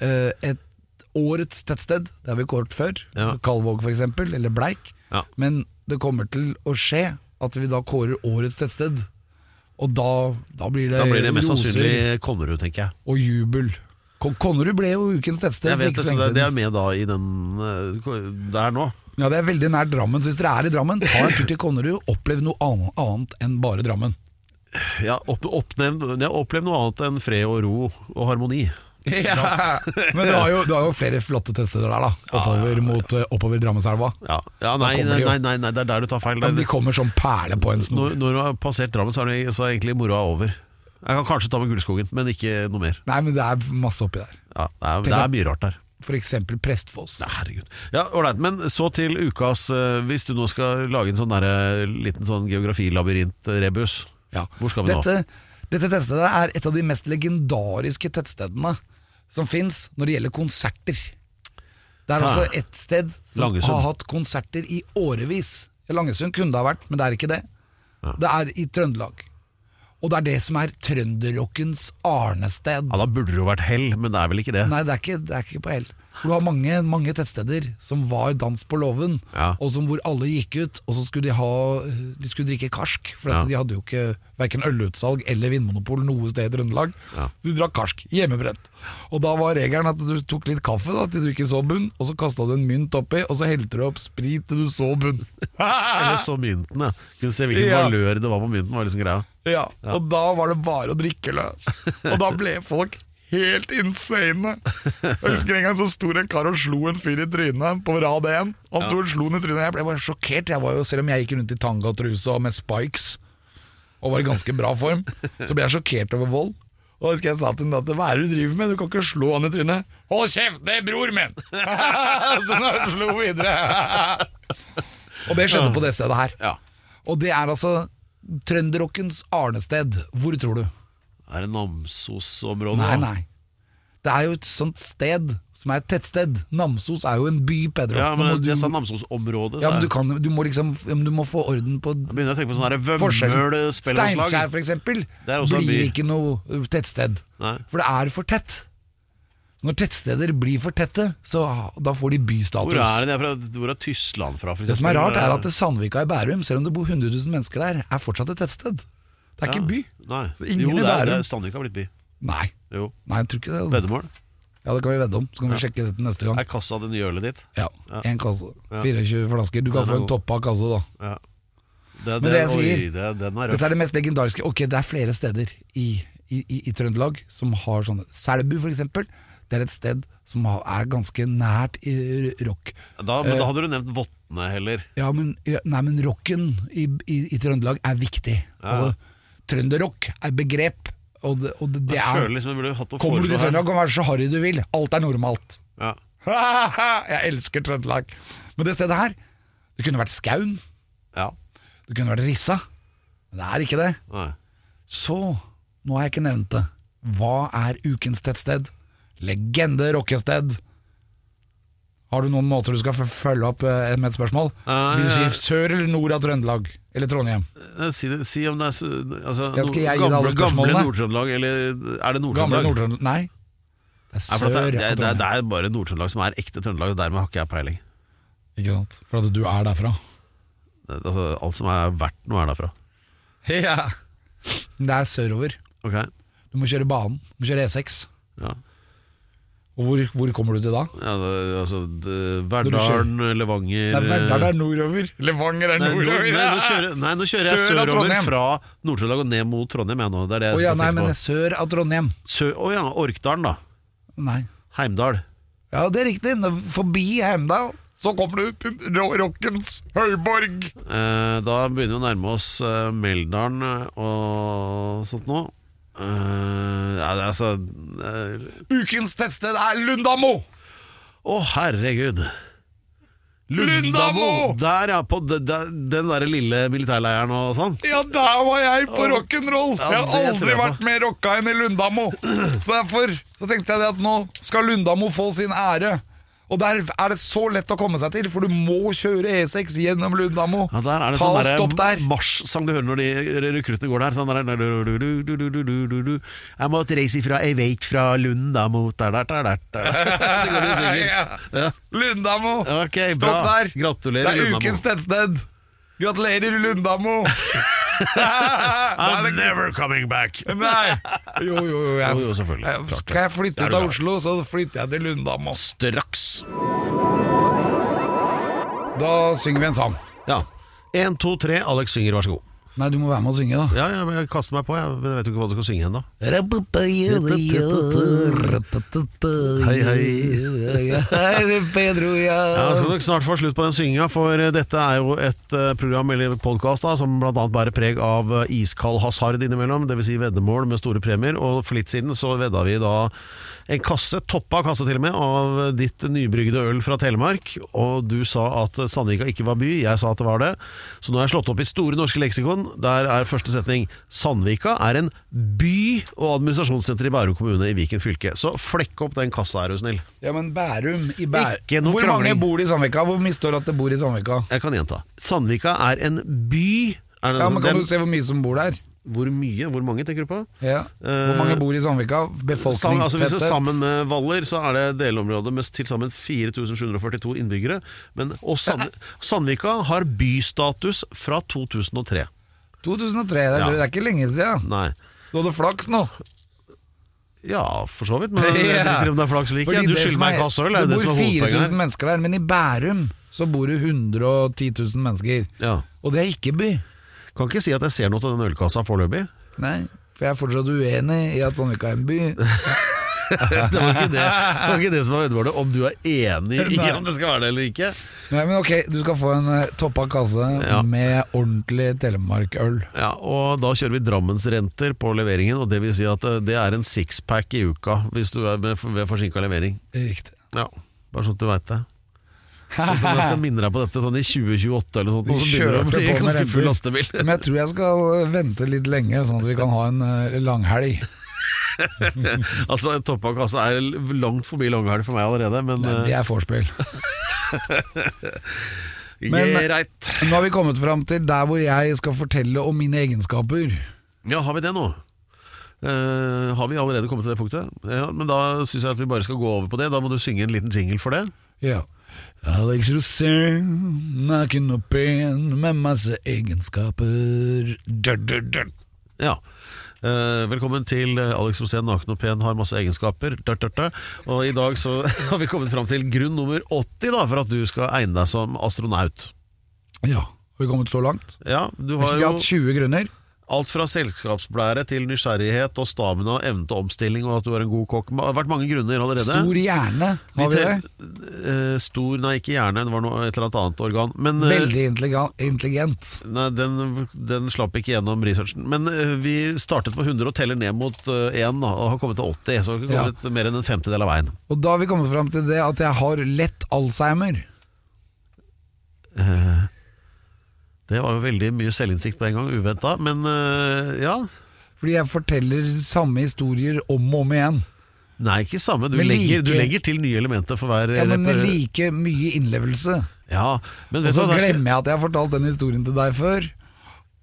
eh, et årets tettsted, det har vi kåret før,
Ja.
Kalvåg for eksempel, eller Bleik,
Ja.
men det kommer til å skje at vi da kårer årets tettsted, og da, da blir det,
Da blir det mest
roser
sannsynlig Konnerud, tenker jeg.
og jubel. Kon Konnerud ble jo ukens tettsted
Jeg
for
vet
ikke
det,
så
så det,
lenge
det er
siden.
med da i den eh, ko- der nå.
Ja, det er veldig nær Drammen, så hvis dere er i Drammen, ta en tur til Konnerud, opplev noe annet, annet enn bare Drammen.
Ja, opp, oppnevn, jeg har opplevd noe annet enn fred og ro og harmoni.
Ja. Men du har, jo, du har jo flere flotte tettsteder der da, oppover, Mot, eh, oppover Drammenselva.
Ja, ja nei,
kommer de
nei,
jo.
nei, nei, nei, det er der du tar feil.
Ja, men
Det-
de kommer som perle på en snor.
når, når du har passert Drammen, så er, det, så er egentlig moroa over. Jeg kan kanskje ta med Gullskogen, men ikke noe mer.
Nei, men det er masse oppi der.
Ja, det, er, det
Tenk
er mye rart der.
For eksempel Prestfoss.
Ja, herregud. Ja, ålreit. Men så til ukas eh, Hvis du nå skal lage en sånn derre liten sånn geografilabyrint-rebus,
Ja.
hvor skal vi nå?
dette, nå? Dette tettstedet er et av de mest legendariske tettstedene som fins når det gjelder konserter. Det
Ah.
er altså ett sted som
Langesund.
har hatt konserter i årevis. Langesund kunne det ha vært, men det er ikke det. Det er i Trøndelag. Og det er det som er trønderrockens arnested.
Ja, Da burde det jo vært hell, men det er vel ikke det.
Nei, det er ikke, det er ikke på hell. For du har mange, mange tettsteder som var dans på låven,
Ja.
og som hvor alle gikk ut, og så skulle de, ha, de skulle drikke karsk. For at
Ja.
de hadde jo ikke verken ølutsalg eller vinmonopol noe sted i Trøndelag.
Ja.
Så de drakk karsk, hjemmebrent. Og da var regelen at du tok litt kaffe da, til du ikke så bunn, og så kasta du en mynt oppi, og så helte du opp sprit til du så bunn.
Eller så mynten, ja. Kunne se hvilken
Ja.
valør det var på mynten. var liksom greia
Ja, og da var det bare å drikke løs. Og da ble folk helt insane. Jeg husker en gang så sto det en kar og slo en fyr i trynet på rad 1. Han sto og slo han i trynet, jeg ble bare sjokkert. Jeg var jo, selv om jeg gikk rundt i tanga og truse og med spikes, og var i ganske bra form, så ble jeg sjokkert over vold. Og da husker jeg sa til ham at hva er det du driver med, du kan ikke slå han i trynet. Hold kjeft, det er bror min! så han slo videre. og det skjedde på det stedet her.
Ja.
Og det er altså trønderrockens arnested. Hvor tror du?
Er det Namsos-området?
Nei,
da?
nei. Det er jo et sånt sted som er et tettsted. Namsos er jo en by, Pedro.
Ja,
Nå
men
må du,
jeg sa Namsos-området.
ja,
sa
men
jeg.
du, kan, du må liksom ja, men Du må få orden på
Begynner jeg å tenke på sånne her
forskjellen.
vømmøl,
Steinkjer,
spellemannslag.
for eksempel,
er også en
blir
by.
ikke noe ø, tettsted.
Nei.
For det er for tett. Så når tettsteder blir for tette, så ah, da får de bystatus.
Hvor er det de er fra? Hvor er Tyskland fra? For
Det som er
eksempel? Eh,
rart, er at det Sandvika i Bærum, selv om det bor 100 000 mennesker der, er fortsatt et tettsted. Det er ikke en by.
Nei.
Så ingen
jo,
i
det er,
Bærum.
det er Sandvika har blitt by.
Nei.
Jo.
Nei, jeg tror ikke det. altså.
Veddemål.
Ja, det kan vi vedde om. Så kan vi sjekke det til neste gang.
Er kassa det nye ølet ditt?
Ja, Én kasse. 24 flasker. Du kan
Den er
få en
god.
toppa kasse, da.
Ja. Det,
Men det jeg
oi,
sier-
det, den er
Dette
røff.
er det mest legendariske. Ok, det er flere steder i, i, i, i Trøndelag som har sånne. Selbu, for eksempel. Det er et sted som har, er ganske nært i rock.
Da, men da hadde du nevnt vottene heller.
Ja, men, ja, nei, men rocken i, i, i Trøndelag er viktig. Altså, trønderrock er begrep, og det, og det, det
Jeg
er
føler liksom jeg burde hatt å
Kommer du til
foreslå her.
Trøndelag, kan være så harry du vil. Alt er normalt.
Ja.
Jeg elsker Trøndelag. Men det stedet her, det kunne vært Skaun,
ja.
det kunne vært Rissa. Men det er ikke det.
Nei.
Så, nå har jeg ikke nevnt det. Hva er ukens tettsted? Legende rockested. Har du noen måter du skal f- følge opp eh, med et spørsmål?
Nei,
Vil du si
jeg-
sør eller nord av Trøndelag? Eller Trondheim?
Eh, Si, det, si om det er s- altså,
Jeg skal
no-
jeg gi deg alle
gamle, gamle
spørsmålene.
Nord-Trøndelag, eller er det
Gamle
Nord-Trøndelag?
Nord-Trøndelag? Nei. Det
Nei,
er
for at
sør av
det, det, det, det
Trondheim.
er bare Nord-Trøndelag som er ekte Trøndelag, og dermed har ikke jeg peiling.
Ikke sant? For at du er derfra.
Det, altså, alt som er verdt noe, er derfra.
Ja. Det er sørover.
Ok,
Du må kjøre banen. Du må kjøre E E6.
ja.
Og hvor, hvor kommer du til da?
ja det, altså, det,
du kjører-
Verdalen, Levanger
Det er Verdal
eh,
er nordover. Levanger er
Nei, nå,
nordover.
nei, nå kjører, nei, nå kjører jeg
Sør av
sørover
Trondheim.
fra Nord-Trøndelag og ned mot Trondheim. Jeg, nå. Det er det
Å
jeg
ja,
skal
nei,
tenke
men
på.
det er sør av Trondheim.
Sø, å ja, Orkdalen, da.
Nei.
Heimdal.
Ja, det er riktig. Forbi Heimdal, så kommer du til ro- rockens høyborg.
Eh, da begynner vi å nærme oss eh, Meldalen og sånt nå. Eh, ja, det er altså eh,
Ukens tettsted er Lundamo!
Å, herregud.
Lundamo!
Der, ja. På de, de, den derre lille militærleiren og sånn.
Ja, der var jeg på rock'n'roll!
Ja,
Jeg har
det tror
aldri
jeg på.
vært mer rocka enn i Lundamo. Så derfor så tenkte jeg det at nå skal Lundamo få sin ære. Og der er det så lett å komme seg til, for du må kjøre E6 gjennom Lundamo.
Ja, der er det
Ta og
sånn
stopp der.
der marsjsang du hører når de rekruttene går der. Sånn der du-du-du-du-du-du-du-du. Jeg måtte reise ifra ei veik fra Lunda mot der, der, der, der. Det går de synger. Ja.
Lundamo!
Ok, bra.
Stopp der!
Gratulerer,
Det er
Lundamo.
ukens tettsted. Gratulerer, Lundamo!
I'm never coming back.
Nei! Jo, jo, jo. Jeg,
Jo, jo, selvfølgelig.
Jeg,
Klart det.
skal jeg flytte
Det er
ut
du
av
glad.
Oslo, så flytter jeg til Lundamo.
Straks.
Da synger vi en sang.
Ja. Én, to, tre. Alex synger, vær så god.
Nei, du må være med og synge, da.
Ja, ja, men jeg kaster meg på, jeg. Men jeg vet jo ikke hva du skal synge ennå.
Hei, hei. Her er Pedro, ja.
Ja, skal nok snart få slutt på den synginga, for eh, dette er jo et eh, program eller podkast som bl.a. bærer preg av eh, iskald hasard innimellom, dvs. Si veddemål med store premier. Og for litt siden så vedda vi da en kasse, toppa kasse til og med, av ditt nybrygde øl fra Telemark. Og du sa at Sandvika ikke var by, jeg sa at det var det. Så nå har jeg slått opp i Store norske leksikon. Der er første setning Sandvika er en by og administrasjonssenter i Bærum kommune i Viken fylke. Så flekk opp den kassa, er du snill.
Ja, men Bærum i Bærum
Ikke noe
Hvor mange
krangling.
bor i Sandvika? Hvor mye står det at det bor i Sandvika?
Jeg kan gjenta. Sandvika er en by er det,
Ja, men Kan
den-
du se hvor mye som bor der?
Hvor mye? Hvor mange tenker du på?
Ja. Hvor
Eh,
mange bor i Sandvika?
Sam, altså hvis du
Befolkningstetthet?
sammen med Valler, så er det delområdet med til sammen 4742 innbyggere. Men, og Sand, Sandvika har bystatus fra 2003.
2003. Det er,
Ja.
det er ikke lenge siden.
Nei.
Du hadde flaks nå.
Ja, for så vidt, men jeg
Ja.
driter i om det er flaks eller ikke.
Fordi
Du
det
skylder
som
meg en
er-
kasse øl, er jo det
Det
som
bor
er
4000
hovedpoenget. her.
mennesker der, men i Bærum så bor det 110 000 mennesker.
Ja.
Og det er ikke by.
Kan ikke si at jeg ser noe til den ølkassa foreløpig.
Nei, for jeg er fortsatt uenig i at Sandvika er en by.
Det var ikke det, det, var ikke det som var veddemålet, om du er enig i
Nei.
om det skal være det eller ikke.
Nei, men ok, du skal få en eh, toppa kasse
Ja.
med ordentlig telemarkøl.
Ja, og da kjører vi Drammensrenter på leveringen, og det vil si at eh, det er en sixpack i uka hvis du er med, ved forsinka levering.
Riktig.
Ja, bare sånn at du veit det. Sånn at jeg skal minne deg på dette sånn i 2028 eller sånt, og så begynner det å bli ganske full lastebil.
Men jeg tror jeg skal vente litt lenge, sånn at vi kan ha en eh, langhelg.
Altså, en toppakkasse er langt forbi langhelg for meg allerede, men,
Nei, Det
eh,
er vorspiel. men-
greit.
Nå har vi kommet fram til der hvor jeg skal fortelle om mine egenskaper.
Ja, har vi det nå? Eh, har vi allerede kommet til det punktet? Ja, men da syns jeg at vi bare skal gå over på det. Da må du synge en liten jingle for det.
Ja. Alex Rosén, naken og pen, med masse egenskaper. Død, død, død.
Ja. Eh, Eh, velkommen til eh, Alex Rosén, naken og pen, har masse egenskaper. Dørt, dørt, dørt. Og i dag så har vi kommet fram til grunn nummer 80 da, for at du skal egne deg som astronaut.
Ja, har vi kommet så langt?
Ja, du
Hvis
har
vi har
jo
hatt 20 grunner
alt fra selskapsblære til nysgjerrighet og stamina og evne til omstilling og at du er en god kokk. Det har vært mange grunner allerede.
Stor hjerne, har vi det?
Eh, stor, nei ikke hjerne, det var noe, et eller annet annet organ. Men, eh,
Veldig intelligent. intelligent.
Nei, den, den slapp ikke gjennom researchen. Men eh, vi startet på 100 og teller ned mot eh, 1 da, og har kommet til 80. Så vi har
Ja.
kommet mer enn en femtedel av veien.
Og da har vi kommet fram til det at jeg har lett Alzheimer.
Det var jo veldig mye selvinnsikt på en gang, uventa. Men eh, ja.
Fordi jeg forteller samme historier om og om igjen.
Nei, ikke samme. Du,
Men
legger, du
like-
legger til nye elementer for hver
Ja, men med
rep-
like mye innlevelse.
Ja, men
Og
vet du
så
hva, der skal-
glemmer jeg sånn at jeg har fortalt den historien til deg før.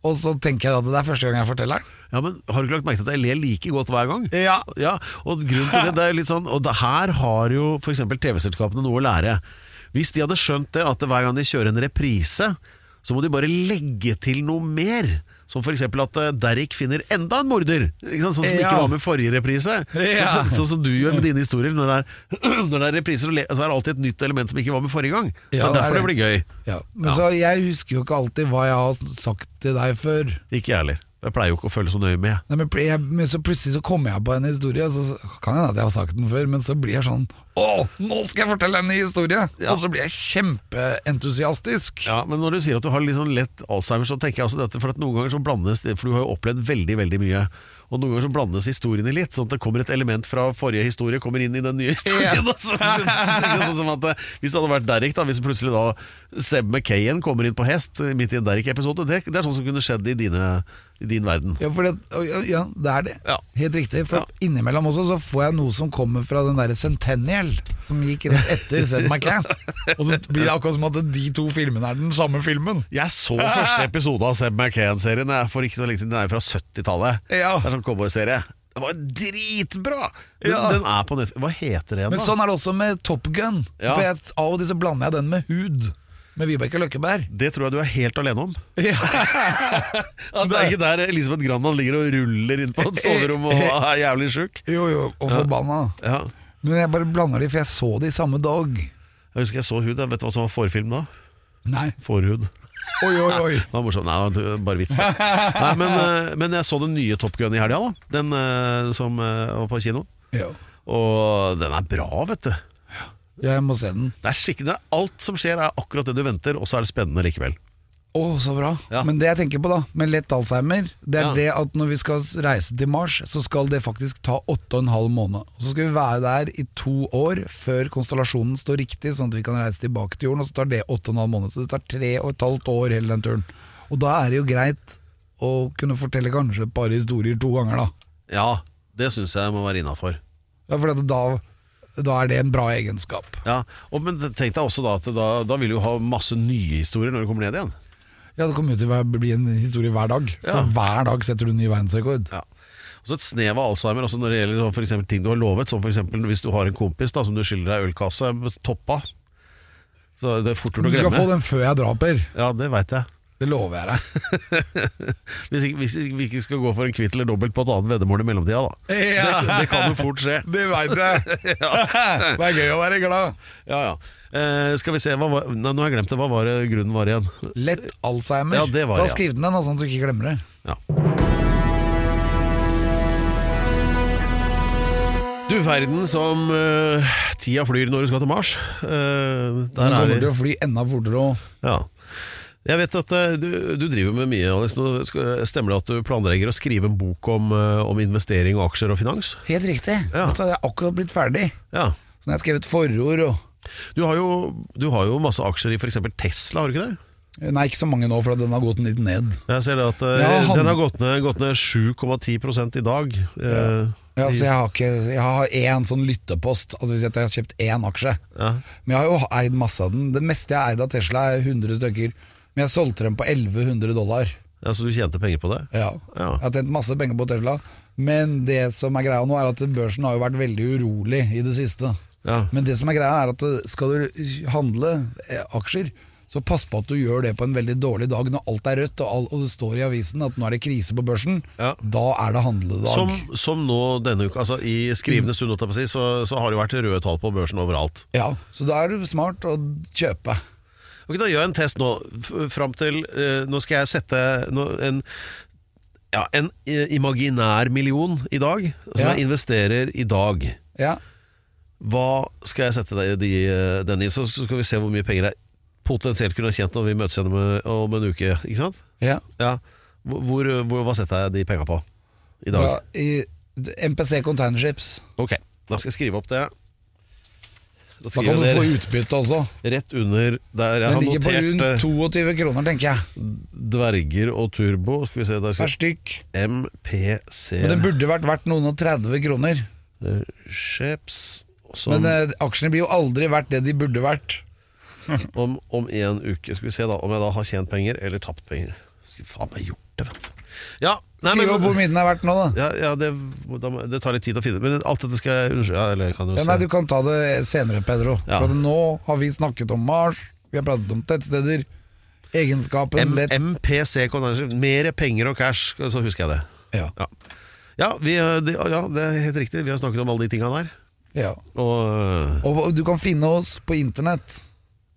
Og så tenker jeg at det er første gang jeg forteller den.
Ja, men Har du ikke lagt merke til at jeg ler like godt hver gang?
Ja.
og grunnen til det, det er litt sånn Og det her har jo f.eks. TV-selskapene noe å lære. Hvis de hadde skjønt det at hver gang de kjører en reprise, så må de bare legge til noe mer. Som f.eks. at eh, Derrick finner enda en morder, ikke sant? sånn som
Ja.
ikke var med forrige reprise.
Ja.
Sånn som du gjør med dine historier. Når det er, når det er repriser, så le- så er det alltid et nytt element som ikke var med forrige gang. Så det
Ja,
er derfor
det
det
er
blir gøy.
Ja. Men
Ja.
så jeg husker jo ikke alltid hva jeg har sagt til deg før.
Ikke jeg heller. Jeg pleier jo ikke å følge så nøye med.
Nei, men, pl- jeg, men så plutselig så kommer jeg på en historie, og så så- kan hende at jeg har sagt den før, men så blir jeg sånn Å, nå skal jeg fortelle en ny historie! Og så blir jeg kjempeentusiastisk.
Ja, men når du sier at du har litt sånn lett Alzheimer, så tenker jeg også dette, for at noen ganger så blandes det, for du har jo opplevd veldig, veldig mye. Og noen ganger så blandes historiene litt, sånn at det kommer et element fra forrige historie, kommer inn i den nye historien.
Ja.
og så- tenker jeg sånn som at eh, hvis det hadde vært Derrick, da, hvis plutselig da Seb McKayen kommer inn på hest eh, midt i en Derrick-episode, det, det er sånn som kunne skjedd i, dine, i din verden.
Ja, for det, å, ja, ja, det er det.
Ja.
Helt riktig. For
Ja.
innimellom også så får jeg noe som kommer fra den derre Centennial, som gikk rett etter Seth MacCann. Og så blir det akkurat som at de to filmene er den samme filmen.
Jeg så første episode av Seb McKayen-serien jeg, for ikke så lenge siden. Den er jo fra 70-tallet.
Ja.
Det er sånn cowboyserie. Den var dritbra! Den,
Ja.
den er på nett... Hva heter den, da?
Men sånn er det også med Top Gun.
Ja.
For jeg, av og til så blander jeg den med Hud, med Vibeke Løkkeberg.
Det tror jeg du er helt alene om. At det
Det-
er ikke der Elisabeth Granland ligger og ruller inn på et soverom og er jævlig sjuk.
Jo, jo, og forbanna.
Ja.
Men jeg bare blander de, for jeg så de samme dag.
Jeg husker jeg så Hud. jeg. Vet du hva som var forfilm da?
Nei.
Forhud.
Oi, oi, oi.
Det var morsomt. Nei, det var bare vits. da. Nei, men, eh, men jeg så den nye Top Gun i helga, da. Den eh, som eh, var på kino.
Jo.
Og den er bra, vet du.
Jeg må se den.
Det er skikkelig, det er Alt som skjer, er akkurat det du venter, og så er det spennende likevel.
Å, så bra.
Ja.
Men det jeg tenker på da, med lett Alzheimer, det er
Ja.
det at når vi skal reise til Mars, så skal det faktisk ta åtte og en halv måned. Og så skal vi være der i to år før konstellasjonen står riktig, sånn at vi kan reise tilbake til jorden, og så tar det åtte og en halv måned. Så det tar tre og et halvt år hele den turen. Og da er det jo greit å kunne fortelle kanskje et par historier to ganger, da.
Ja, det syns jeg må være innafor.
Ja, for at da, da er det en bra egenskap.
Ja, og, men tenk deg også da at da, da vil du jo ha masse nye historier når du kommer ned igjen.
Ja, det kommer jo til å være- bli en historie hver dag.
Ja.
For hver dag setter du ny verdensrekord.
Ja. Og så et snev av Alzheimer også når det gjelder sånn for eksempel ting du har lovet, som f.eks. hvis du har en kompis da, som du skylder deg ølkasse, toppa. Så det er fort gjort
Du
å
skal få
glemme.
den før jeg draper.
Ja, det veit jeg.
Det lover jeg deg.
Hvis, ikke, hvis vi ikke skal gå for en kvitt eller dobbelt på et annet veddemål i mellomtida, da.
Ja.
Det, det kan jo fort skje.
Det veit jeg. Det er gøy å være glad.
Ja, ja. Eh, skal vi se, hva var, nei, nå har jeg glemt det. Hva var det grunnen var igjen?
Lett Alzheimer.
Ja, det var
Ta
jeg.
Skriv den ned, nå, sånn at du ikke glemmer det.
Ja. Du verden som eh, tida flyr når du skal til Mars. Eh,
Du
der er
kommer
vi.
til å fly enda fortere og
Ja. Jeg vet at eh, du, du driver med mye, Alex. Nå skal- stemmer det at du planlegger å skrive en bok om, eh, om investering og aksjer og finans?
Helt riktig.
Ja.
Vet du hva, jeg har akkurat blitt ferdig.
Ja.
Så når jeg har skrevet forord og
Du har jo, du har jo masse aksjer i f.eks. Tesla, har du ikke det?
Nei, ikke så mange nå, for den har gått litt ned.
Jeg ser det at eh,
Ja, han-
den har gått ned, gått ned 7,10 i dag. eh,
Ja,
i-
så jeg har, ikke, jeg har én sånn lyttepost, altså hvis jeg har kjøpt én aksje.
Ja.
Men jeg har jo eid masse av den. Det meste jeg har eid av Tesla er 100 stykker. Men jeg solgte den på 1100 dollar.
ja, Så du tjente penger på det?
Ja.
Ja.
Jeg har tjent masse penger på Tesla. Men det som er greia nå, er at børsen har jo vært veldig urolig i det siste.
Ja.
Men det som er greia, er at skal du handle eh, aksjer, Så pass på at du gjør det på en veldig dårlig dag når alt er rødt og, all, og det står i avisen at nå er det krise på børsen.
Ja.
Da er det handledag.
Som, som nå denne uka, altså i skrivende stund, holdt jeg på å si, så, så har det jo vært røde tall på børsen overalt.
Ja, Så da er du smart å kjøpe.
Ok, da gjør jeg en test nå, f- fram til eh, Nå skal jeg sette nå, en, ja, en eh, imaginær million i dag, som
Ja.
jeg investerer i dag.
Ja,
Hva skal jeg sette deg- de, eh, den i, så så skal vi se hvor mye penger jeg potensielt kunne ha tjent når vi møtes igjen om, om en uke, ikke sant?
ja.
Ja. Hvor, hvor- hvor, hva setter jeg de penga på i dag?
Da, i, MPC Containerships.
Ok, da skal jeg skrive opp det. Da
Da kan
skriver
du
jeg
få
det
utbytte også.
rett under der jeg
Den
har
ligger på
notert
rundt
eh,
22 kroner, tenker jeg.
dverger og turbo. Skal vi se, der skal
Per stykk.
MPC
Men den burde vært verdt noen og 30 kroner.
Ships som
Men eh, aksjene blir jo aldri verdt det de burde vært.
om, om en uke Skal vi se da om jeg da har tjent penger eller tapt penger. Skulle faen meg gjort det, vet du. Ja, nei,
Skriv opp hvor
men,
mye den er verdt nå, da.
ja, ja det, da må- det tar litt tid å finne Men alt dette skal jeg undersøke. Ja, eller jeg kan jo
Ja,
se.
nei, du kan ta det senere, Pedro.
Ja.
For at nå har vi snakket om Mars, vi har pratet om tettsteder, egenskapen
M
lett
MPC Containership. Mer penger og cash, så husker jeg det.
ja.
Ja, ja, vi, eh, det- ja det er helt riktig. Vi har snakket om alle de tinga der.
ja.
Og eh,
Og og du kan finne oss på internett.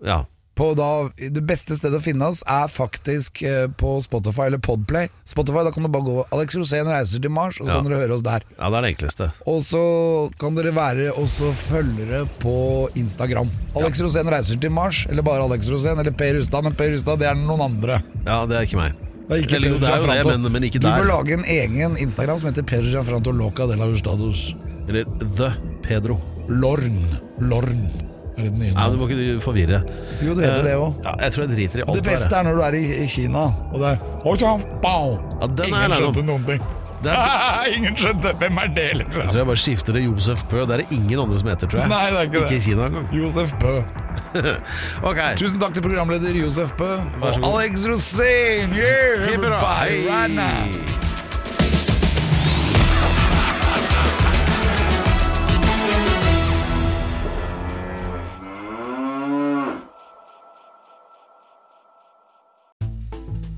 ja.
På da, det beste stedet å finne oss er faktisk eh, på Spotify eller Podplay. Spotify, Da kan du bare gå 'Alex Rosén reiser til Mars', og så
Ja.
kan dere høre oss der.
ja, det er det enkleste.
Og så kan dere være også følgere på Instagram. Alex Rosén reiser til Mars, eller bare Alex Rosén, eller Per Rustad. Men Per Rustad, det er noen andre.
Ja, det er ikke meg.
Det er ikke
Eller jo,
Pedro
det er jo det,
Gianfranto.
men, men ikke
Du bør
der.
lage en egen Instagram som heter Pedro Gianfranto Loca de la Hustados.
Eller The Pedro.
Lorn. Lorn. Er det den nye
Nei,
navnet?
du må ikke du forvirre.
Jo, det heter
Eh,
det òg.
Ja, jeg tror jeg driter i alt
Det beste
her,
er når du er i i Kina, og det er Oi, så pao!
jeg. Ja, den er jeg
Ingen
lei
skjønte
meg om.
noen ting.
Det er,
Ingen skjønte hvem er det,
jeg
liksom.
tror jeg bare skifter til Josef Pø. Det er det ingen andre som heter, tror jeg.
Nei, det er ikke det.
i Kina engang.
Josef Bø.
Ok.
Tusen takk til programleder Josef Bø
Vær så
og
god.
Alex Rosén. Yeah,
Hei, bra.
everybody, right now.